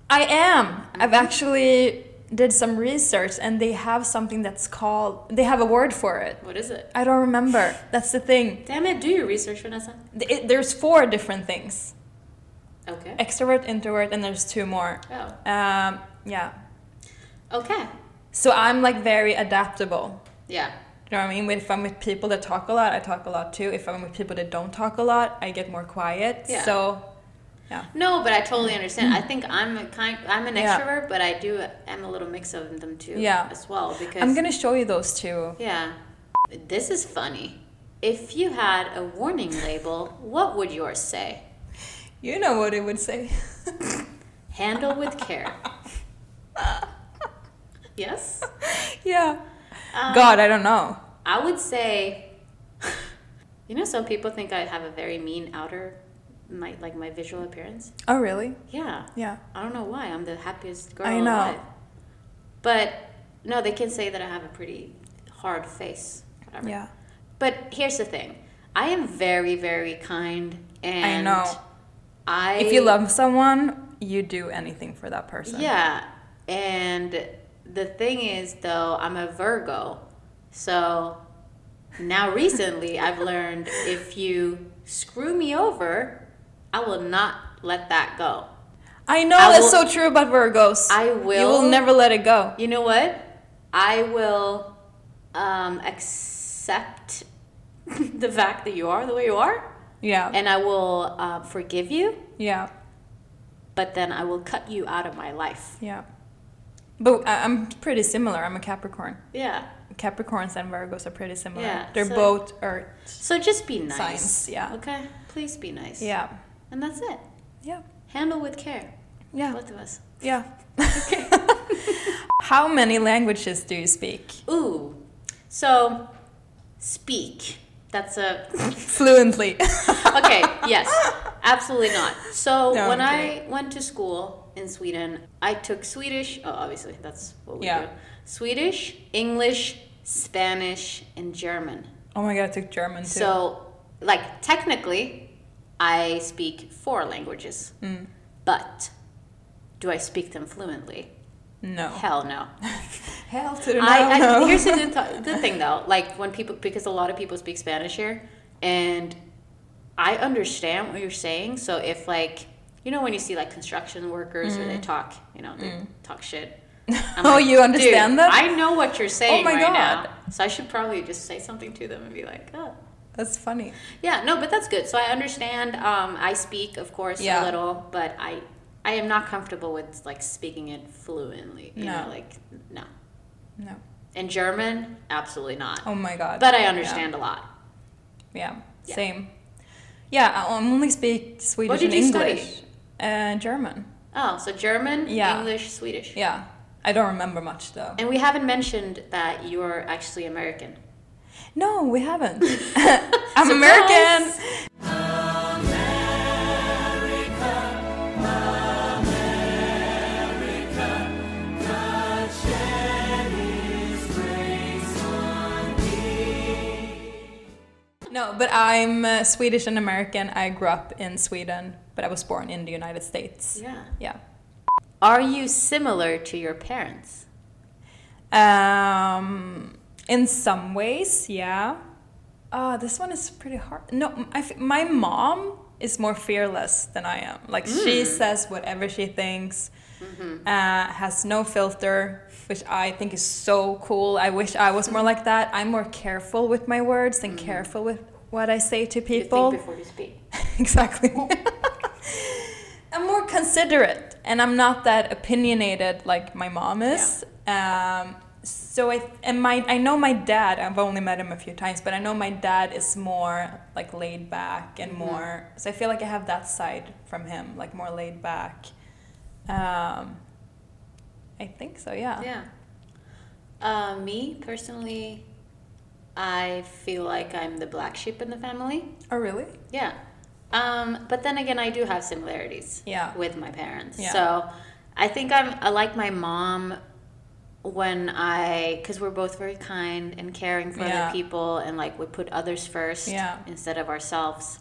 I am. Mm-hmm. I've actually did some research and they have something that's called they have a word for it. What is it? I don't remember. That's the thing. Damn it! Do your research, Vanessa. Th- It, there's four different things: Okay. extrovert, introvert, and there's two more. Oh. Um, yeah. Okay. So I'm like very adaptable. Yeah. You know what I mean? If I'm with people that talk a lot, I talk a lot too. If I'm with people that don't talk a lot, I get more quiet. Yeah. So, yeah. No, but I totally understand. I think I'm a kind. I'm an Yeah. extrovert, but I do am a little mix of them too. Yeah. As well, because I'm gonna show you those two. yeah. This is funny. If you had a warning label, what would yours say? You know what it would say. [LAUGHS] Handle with care. yes. yeah. God, I don't know. I would say, you know, some people think I have a very mean outer, my like my visual appearance. Oh, really? Yeah, Yeah. I don't know why. I'm the happiest girl I know. alive. But no, they can say that I have a pretty hard face. Whatever. Yeah. But here's the thing: I am very, very kind, and know. I If you love someone, you do anything for that person. Yeah. And the thing is, though, I'm a Virgo. So now recently I've learned if you screw me over, I will not let that go. I know I that's will- so true about Virgos. I You will- will never let it go. You know what? I will um, accept [LAUGHS] the fact that you are the way you are, Yeah. and I will uh, forgive you, yeah. but then I will cut you out of my life. Yeah. But I- I'm pretty similar. I'm a Capricorn. Yeah. Capricorns and Virgos are pretty similar. Yeah, They're so- both Earth. So just be nice. Signs, yeah. Okay? Please be nice. Yeah. And that's it. Yeah. Handle with care. Yeah. Both of us. Yeah. [LAUGHS] How many languages do you speak? Ooh. So, speak. That's a [LAUGHS] Fluently. [LAUGHS] okay, yes, absolutely not. So No, when I'm I went to school in Sweden, I took Swedish. Oh, obviously, that's what we Yeah. do. Swedish, English, Spanish, and German. oh my god, I took German too. So, like technically, I speak four languages, Mm. but do I speak them fluently? no. Hell no. Hell to the I, I, no, [LAUGHS] no. Here's the good, th- good thing though, like when people, because a lot of people speak Spanish here, and I understand what you're saying. So if like, you know, when you see like construction workers or they talk, you know, they talk shit. [LAUGHS] I'm Mm. Oh, you "Dude, understand that?" I know what you're saying my right God. now, so I should probably just say something to them and be like, oh. That's funny. yeah, no, but that's good. So I understand. Um, I speak, of course, Yeah. a little, but I, I am not comfortable with like speaking it fluently. You No. know, like no. No. In German, absolutely not. Oh my god. But I Yeah. understand a lot. Yeah. Yeah. Same. Yeah, I only speak Swedish did and you study? English. Uh, German. Oh, so German, Yeah. English, Swedish. Yeah. I don't remember much though. And we haven't mentioned that you're actually American. No, we haven't. [LAUGHS] I'm American. No, but I'm uh, Swedish and American. I grew up in Sweden, but I was born in the United States. Yeah. Yeah. Are you similar to your parents? Um, in some ways, yeah. Uh, this one is pretty hard. No, I f- my mom is more fearless than I am. Like Hmm. she says whatever she thinks, Mm-hmm. uh, has no filter, which I think is so cool. I wish I was more like that. I'm more careful with my words and careful with what I say to Mm-hmm. You people think before you speak. [LAUGHS] exactly. I'm more considerate, and I'm not that opinionated like my mom is. Um, so I and my I know my dad. I've only met him a few times, but I know my dad is more like laid back Mm-hmm. and more. So I feel like I have that side from him, like more laid back. Um, I think so. Yeah. Yeah. Uh, me personally, I feel like I'm the black sheep in the family. Oh really? Yeah. Um, but then again, I do have similarities Yeah. with my parents. Yeah. So I think I'm I like my mom when I, because we're both very kind and caring for Yeah. other people and like we put others first Yeah. instead of ourselves.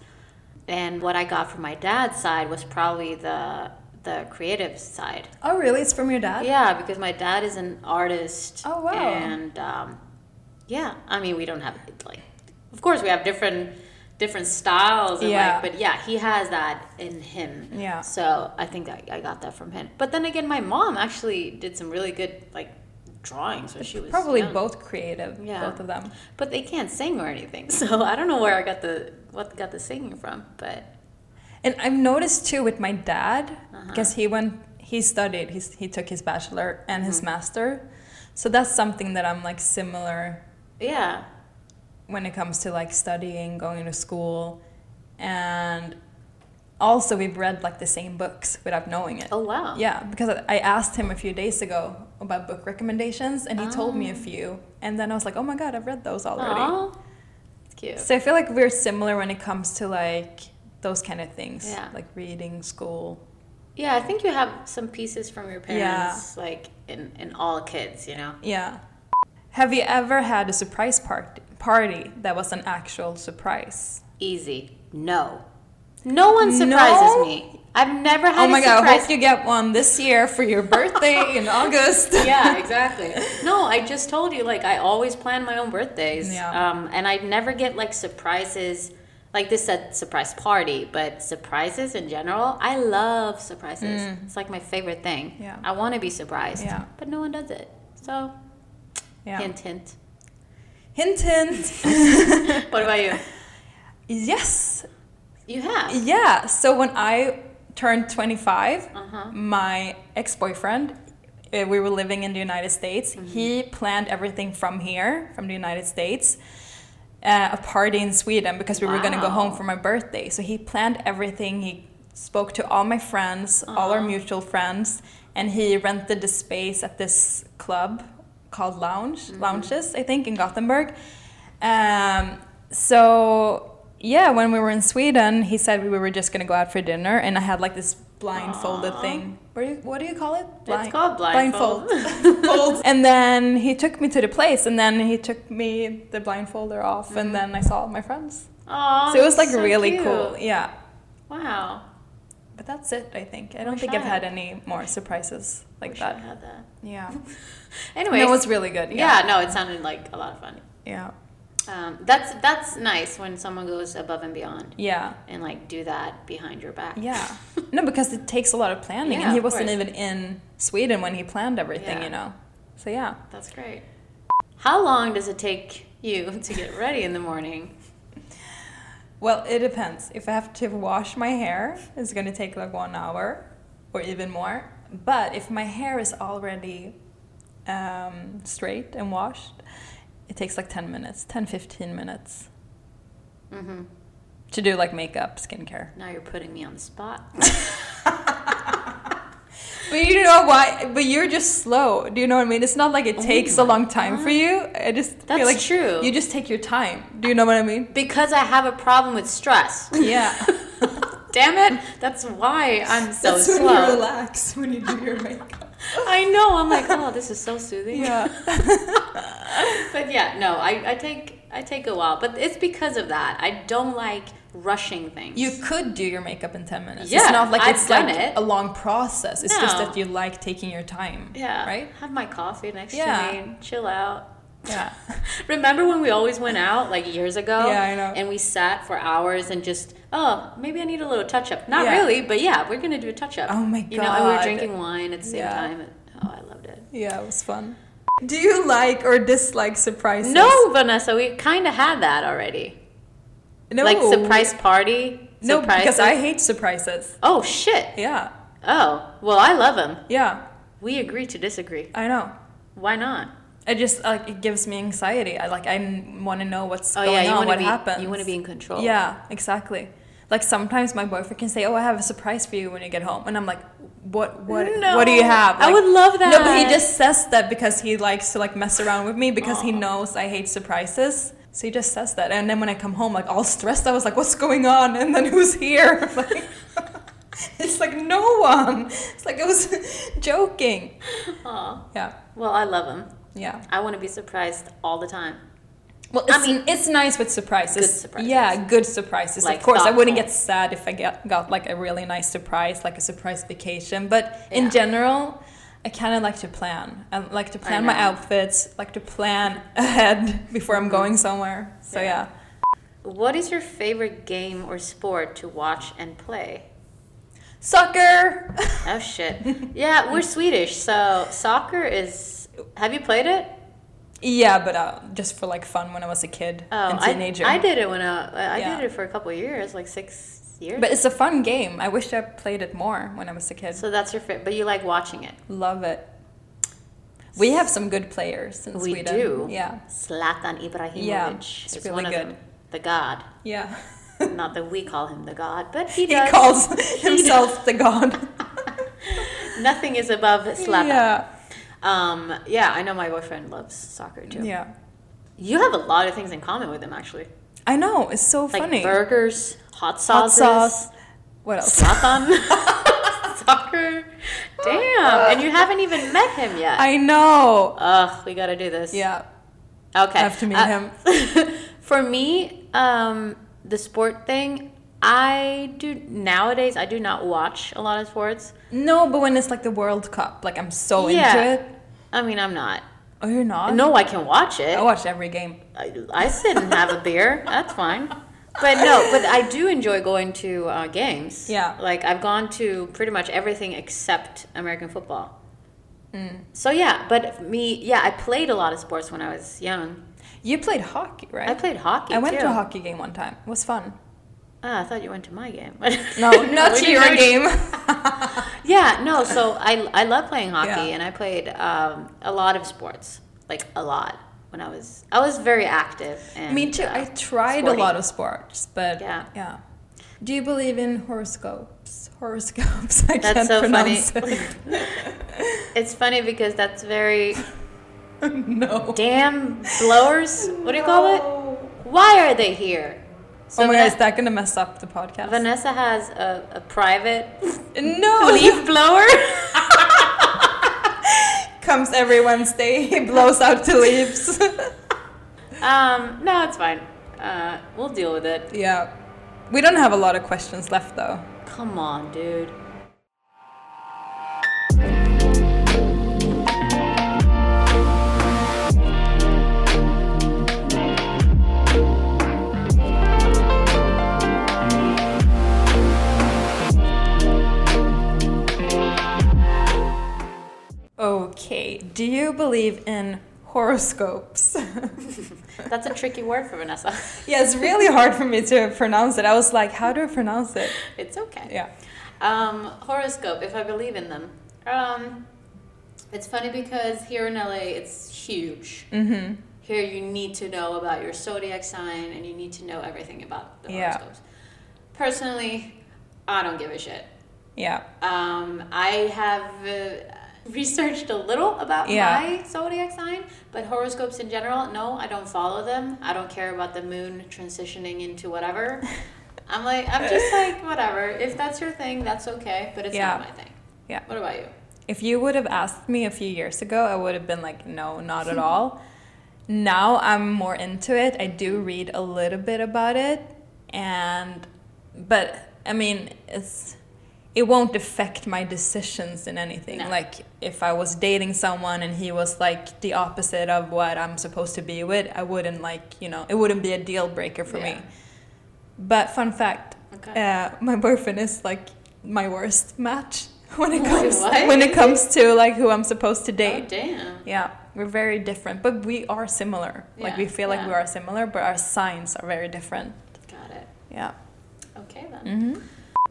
And what I got from my dad's side was probably the the creative side. Oh really? It's from your dad. Yeah, because my dad is an artist. Oh, wow. And um, yeah, I mean, we don't have like, of course, we have different different styles. And, Yeah. Like, but yeah, he has that in him. Yeah. So I think I, I got that from him. But then again, my mom actually did some really good like drawings when she was Probably young. both creative. Yeah. Both of them. But they can't sing or anything, [LAUGHS] so I don't know where I got the what got the singing from. But And I've noticed too with my dad Uh-huh. because he went, he studied, he, he took his bachelor and his Mm-hmm. master. So that's something that I'm like similar yeah, when it comes to like studying, going to school, and also we've read like the same books without knowing it. oh wow, Yeah, because I- I asked him a few days ago about book recommendations, and he told me a few, and then I was like, oh my god, I've read those already. Ah. Aw. It's cute. So I feel like we're similar when it comes to like those kind of things, Yeah. like reading, school. Yeah, I think you have some pieces from your Yeah. parents, like in, in all kids, you know? Yeah. Have you ever had a surprise party party that was an actual surprise? Easy. No. No one surprises No? me. I've never had oh my a god, I surprise. hope [LAUGHS] you get one this year for your birthday in August. yeah, exactly. No, I just told you, like, I always plan my own birthdays. Yeah. Um, and I never get, like, surprises. Like, this said surprise party, but surprises in general, I love surprises. It's, like, my favorite thing. Mm. Yeah. I want to be surprised. Yeah. But no one does it. So, [LAUGHS] Yeah. hint, [LAUGHS] hint. Hint hint. What about you? yes. You have. Yeah. So when I turned 25, Uh-huh. my ex-boyfriend uh, we were living in the United States. Mm-hmm. He planned everything from here, from the United States, uh, a party in Sweden because we were going to go home Wow. for my birthday. So he planned everything. He spoke to all my friends, all our mutual friends, and he rented the Mm-hmm. space at this club called Lounge Lounges, I think, in Gothenburg. Um, so yeah, when we were in Sweden, he said we were just gonna go out for dinner, and I had like this blindfolded thing. What do you, what do you call it? called blindfold. [LAUGHS] Blindfold. Fold. and then he took me to the place, and then he took me the blindfolder off, Mm-hmm. and then I saw all my friends. Aw, so it was like Oh, that's really cute. cool. Yeah. Wow. But that's it, I think. I don't wish think I I've had had- any more surprises like Wish I that. had that. Yeah. [LAUGHS] Anyway, That was really good. yeah. Yeah. No, it sounded like a lot of fun. Yeah. Um, that's that's nice when someone goes above and beyond Yeah. and like do that behind your back. Yeah. No, because it takes a lot of planning, Yeah, and he of wasn't course. even in Sweden when he planned everything, Yeah. you know. So yeah. [LAUGHS] That's great. How long does it take you [LAUGHS] to get ready in the morning? Well, it depends. If I have to wash my hair, it's gonna take like one hour, or even more. But if my hair is already um, straight and washed, it takes like 10 minutes, 10 15 minutes hmm to do like makeup, skincare. Now you're putting me on the spot. But you know why? But you're just slow. Do you know what I mean? It's not like it takes a my long time for you. I just Uh-huh. That's feel like true. You just take your time. Do you know what I mean? because I have a problem with stress. [LAUGHS] [LAUGHS] Yeah. Damn it! That's why I'm so slow. relax when you do your makeup. I know. I'm [LAUGHS] like, oh, this is so soothing. Yeah. But yeah, no, I, I take I take a while, but it's because of that. I don't like rushing things. You could do your makeup in ten minutes. Yeah, it's not like I've it's done like it. a long process. It's just No. that you like taking your time. yeah, Right? Have my coffee next Yeah. to me, and chill out. Yeah. Remember when we always went out like years ago? Yeah, I know. And we sat for hours and just, oh, maybe I need a little touch up. Not Yeah. really, but yeah, we're gonna do a touch up. Oh my You know, and we were God. drinking wine at the same Yeah. time. Oh, I loved it. [LAUGHS] yeah, it was fun. Do you like or dislike surprises? No, Vanessa, we kind of had that already. No. Like surprise party. No, because surprises. I hate surprises. Oh shit. Yeah. Oh well, I love them. Yeah. We agree to disagree. I know. Why not? I just like it gives me anxiety. I like I want to know what's Oh going yeah, you want on, to what be happens. you want to be in control. Yeah, exactly. Like sometimes my boyfriend can say, "Oh, I have a surprise for you when you get home," and I'm like, "What? What? No. What do you have?" I Like- would love that. No, but he just says that because he likes to like mess around with me because he knows I hate surprises. So he just says that, and then when I come home, like all stressed, I was like, "What's going on?" And then who's here? [LAUGHS] Like, it's like no one. It's like I was [LAUGHS] joking. Aw. Yeah, Well, I love them. yeah. I want to be surprised all the time. Well, I it's, I mean, it's nice with surprises. Good surprises. Yeah, good surprises. Like of course, I wouldn't thoughtful. get sad if I get, got like a really nice surprise, like a surprise vacation. But in Yeah. general, I kind of like to plan. I like to plan my know. Mm-hmm. outfits, like to plan [LAUGHS] ahead before I'm going somewhere. So yeah. Yeah. What is your favorite game or sport to watch and play? soccer. [LAUGHS] Oh shit. yeah, we're Swedish, so soccer is. Have you played it? yeah, but uh, just for like fun when I was a kid Oh, and I, teenager. I did it when uh, I I Yeah. did it for a couple of years, like six years. But it's a fun game. I wish I played it more when I was a kid. so that's your favorite. But you like watching it. Love it. We have some good players in We Sweden. do. Yeah. Zlatan Ibrahimovic Yeah, it's is really one of good. them. The God. Yeah. Not that we call him the God, but he [LAUGHS] he does. calls himself [LAUGHS] the god. Nothing is above Zlatan. Yeah. Um, yeah, I know my boyfriend loves soccer too. Yeah. You have a lot of things in common with him, actually. I know. It's so Like funny. burgers, hot Hot sauces, sauce. What else? Zlatan, [LAUGHS] soccer. Damn, and you haven't even met him yet. [LAUGHS] I know. Ugh, we gotta do this. Yeah. Okay. I have to meet him. [LAUGHS] for me, um, the sport thing, I do nowadays. I do not watch a lot of sports. No, but when it's like the World Cup, like I'm so Yeah. into it. I mean, I'm not. Oh, you're not? No, I can watch it. I watch every game. I, I sit and have a beer. That's fine. But no, but I do enjoy going to uh, games. Yeah. Like I've gone to pretty much everything except American football. Mm. So yeah, but me, yeah, I played a lot of sports when I was young. You played hockey, right? I played hockey. I went too. to a hockey game one time. It [LAUGHS] was fun. Ah, I thought you went to my game. [LAUGHS] No, We not to didn't your know- game. [LAUGHS] [LAUGHS] Yeah, no. So I I love playing hockey, Yeah. and I played um, a lot of sports, like a lot. When I was I was very active. And, Me too. uh, I tried sporty. a lot of sports, but Yeah. yeah. Do you believe in horoscopes? Horoscopes. [LAUGHS] I That's can't so pronounce funny. it. It's funny because that's very [LAUGHS] no. damn blowers. What do you call it? No. why are they here? So oh my god, is Van- that gonna mess up the podcast? Vanessa has a, a [LAUGHS] private no, leaf blower. [LAUGHS] comes every Wednesday. He blows out the leaves. [LAUGHS] um, no, it's fine. Uh, we'll deal with it. yeah, we don't have a lot of questions left though. Come on, dude. Okay, do you believe in horoscopes? [LAUGHS] That's a tricky word for Vanessa. [LAUGHS] yeah, it's really hard for me to pronounce it. I was like, how do I pronounce it? It's okay. Yeah. Um, horoscope, if I believe in them. Um, it's funny because here in LA, it's Mm. huge. Mm-hmm. Here, you need to know about your zodiac sign and you need to know everything about the Yeah. horoscopes. Personally, I don't give a shit. Yeah. Um, I have uh, researched a little about Yeah. my zodiac sign, but horoscopes in general, no, I don't follow them. I don't care about the moon transitioning into [LAUGHS] whatever. I'm like, I'm just like, whatever. If that's your thing, that's okay, but it's Yeah. not my thing. Yeah. What about you? If you would have asked me a few years ago, I would have been like, no, not at all. [LAUGHS] now I'm more into it. I do read a little bit about it, and but I mean, it's it won't affect my decisions in anything. No. Like if I was dating someone and he was like the opposite of what I'm supposed to be with, I wouldn't like you know it wouldn't be a deal breaker for Yeah. me. But fun fact, Okay. uh, my boyfriend is like my worst match [LAUGHS] when it Wait, comes what? when it comes to like who I'm supposed to Oh, date. damn. yeah, we're very different, but we are similar. Like Yeah, we feel like yeah. we are similar, but our signs are very different. Got it. Yeah. Okay, then. Mm-hmm.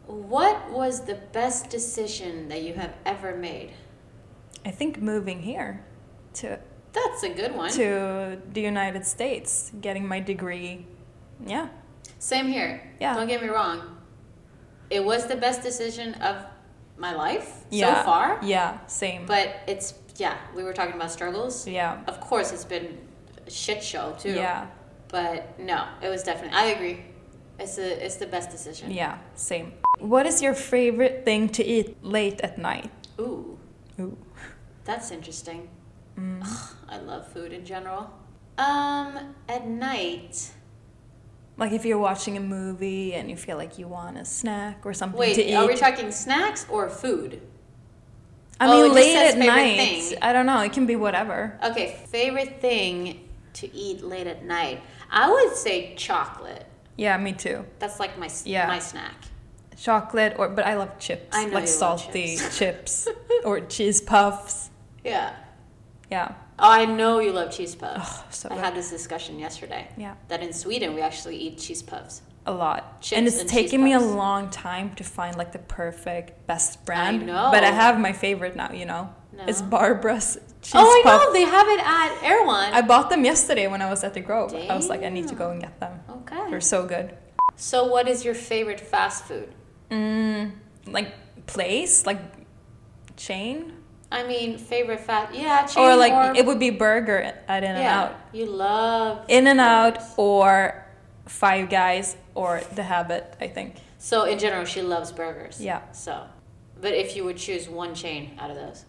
What was the best decision that you have ever made? I think moving here to That's a good one. to the United States, getting my degree. Yeah. Same here. Yeah. Don't get me wrong. It was the best decision of my life Yeah. so far. Yeah, same. But it's yeah, we were talking about struggles. yeah. Of course it's been a shit show too. Yeah. But no, it was definitely I agree. It's the it's the best decision. Yeah, same. What is your favorite thing to eat late at night? Ooh, Ooh. that's interesting. Mm. Ugh, I love food in general. Um, at night. Like if you're watching a movie and you feel like you want a snack or something to Wait, eat. are we talking snacks or food? I Oh, it mean, just late says at favorite night. thing. I don't know. It can be whatever. Okay, favorite thing to eat late at night. I would say chocolate. Yeah, me too. That's like my s Yeah. my snack. Chocolate or but I love chips. I know like you love salty [LAUGHS] chips, [LAUGHS] or cheese puffs. Yeah. Yeah. Oh, I know you love cheese puffs. Oh, so I good. had this discussion yesterday. Yeah. That in Sweden we actually eat cheese puffs. a lot. Chips and it's and cheese taken me a puffs. long time to find like the perfect best brand. know. But I have my favorite now, you know. No. It's Barbara's cheese oh, I puff. know they have it at Erewhon. I bought them yesterday when I was at the Grove. I was like, I need to go and get them. okay. They're so good. So, what is your favorite fast food? Like place, like chain, I mean, favorite fat? Yeah, chain or like it would be burger at In and yeah, Out, You love In and Out, burgers. or Five Guys, or The Habit. I think. So in general, she loves burgers. Yeah. So, but if you would choose one chain out of those,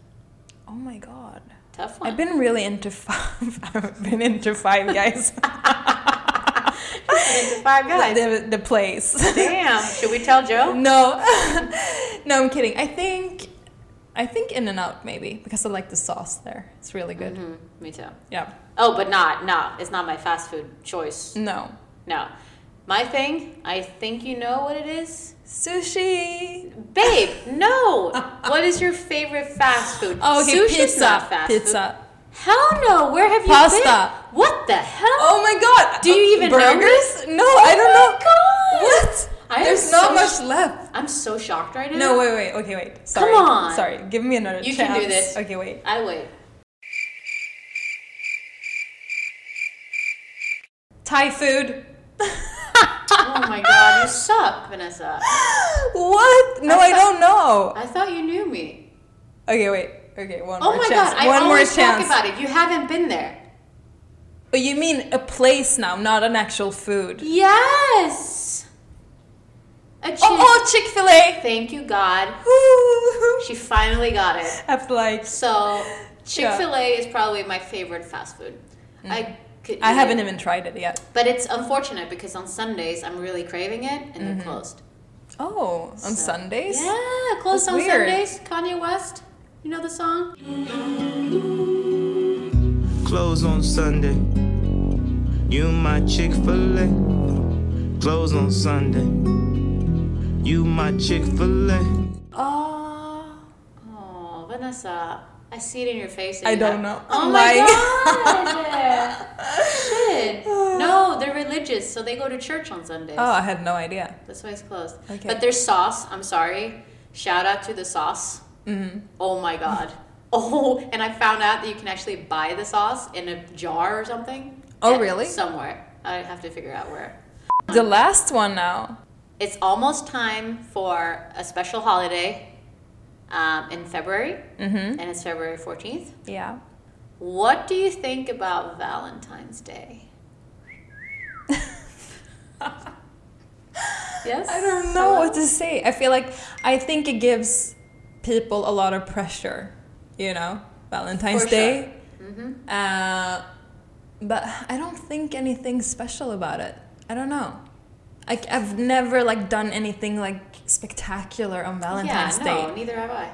Oh my god. tough one. I've been really into five. [LAUGHS] I've been into Five [LAUGHS] Guys. Into five guys. the, the [LAUGHS] place. Damn. Should we tell Joe? no, [LAUGHS] no, I'm kidding. I think, I think In and Out maybe because I like the sauce there. It's really good. Mm, Me too. Yeah. Oh, but not. No, it's not my fast food choice. No. No. My thing, I think you know what it is. Sushi. Babe, [LAUGHS] no! what is your favorite fast food? Oh, okay, Sushi's pizza. not fast pizza. food. Hell no! Where have you Pasta. been? What the hell? Oh my god. Do you even know burgers? this? No, I don't Oh know. my God. What? I am There's not so much sh- left. I'm so shocked right now. No, wait, wait. Okay, wait. Sorry. on. Sorry. Give me another You chance. can do this. Okay, wait. I wait. Thai [GASPS] food. Oh my god, you suck, Vanessa. What? No, I, I thought- don't know. I thought you knew me. Okay, wait. Okay, one Oh more my chance. god, I one more always chance. talk about it. You haven't been there. Oh, you mean a place now, not an actual food. Yes. A chick. Oh, oh Chick fil A! Thank you, God. [LAUGHS] She finally got it. After like, So Chick Fil A is probably my favorite fast food. I could. Mm. I eat haven't it. even tried it yet. But it's unfortunate because on Sundays I'm really craving it, and Mm-hmm. they're closed. Oh, on Sundays? Yeah, closed on That's weird. Sundays. Kanye West. You know the song? Close on Sunday. You my Chick fil A. Close on Sunday. You my Chick fil A. Oh, Oh, Vanessa. I see it in your face. and I you don't have- know. Oh my god! [LAUGHS] Shit. No, they're religious, so they go to church on Sundays. oh, I had no idea. That's why it's closed. Okay. But there's sauce. I'm sorry. Shout out to the sauce. Mm-hmm. Oh my god. [LAUGHS] Oh, and I found out that you can actually buy the sauce in a jar or something. Oh, Yeah, really? Somewhere. I have to figure out where. The last one now. It's almost time for a special holiday um, in February, Mm-hmm. and it's February 14th. Yeah. What do you think about Valentine's [LAUGHS] Day? yes? I don't know what to say. I feel like I think it gives people a lot of pressure, you know, Valentine's For sure. Mm-hmm. Day. Uh, but I don't think anything special about it. I don't know. I, I've never like done anything like spectacular on Valentine's yeah, no, Day. neither have I.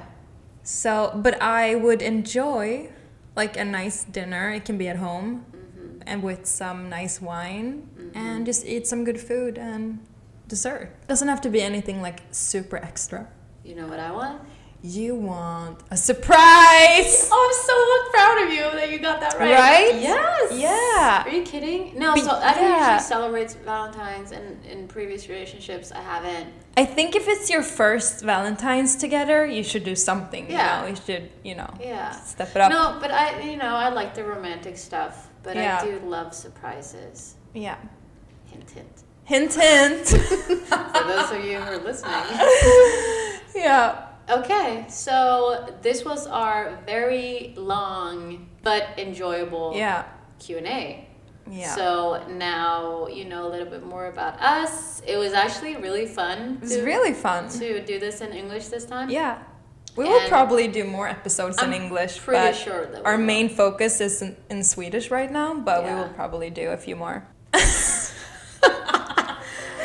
So, but I would enjoy like a nice dinner. It can be at home Mm-hmm. and with some nice wine and just eat some good food and dessert. Doesn't have to be anything like super extra. You know what I want? You want a surprise! Oh, I'm so proud of you that you got that right. Right? Yes. Yeah. Are you kidding? No, Be- so I don't yeah. usually celebrate Valentine's, and in previous relationships, I haven't. I think if it's your first Valentine's together, you should do something. Yeah. You know, you should, you know, Yeah. step it up. No, but I, you know, I like the romantic stuff, but Yeah. I do love surprises. Yeah. Hint, hint. Hint, hint. [LAUGHS] For those of you who are listening. yeah. Okay, so this was our very long but enjoyable Yeah. Q and A. Yeah. So now you know a little bit more about us. It was actually really fun. it was really fun. to do this in English this time. Yeah. We will And- probably do more episodes I'm in English. pretty but sure that we our will. main focus is in, in Swedish right now, but we Yeah. will probably do a few more. [LAUGHS]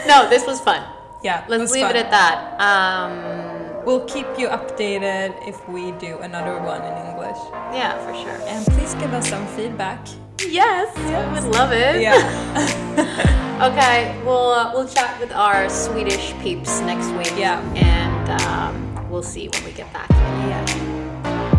No, this was fun. Yeah, it Let's was leave fun. it at that. Um, We'll keep you updated if we do another one in English. yeah, for sure. And please give us some feedback. Yes, I would love it. [LAUGHS] Yeah, [LAUGHS] Okay, we'll uh, we'll chat with our Swedish peeps next week. Yeah. And um, we'll see when we get back. yeah.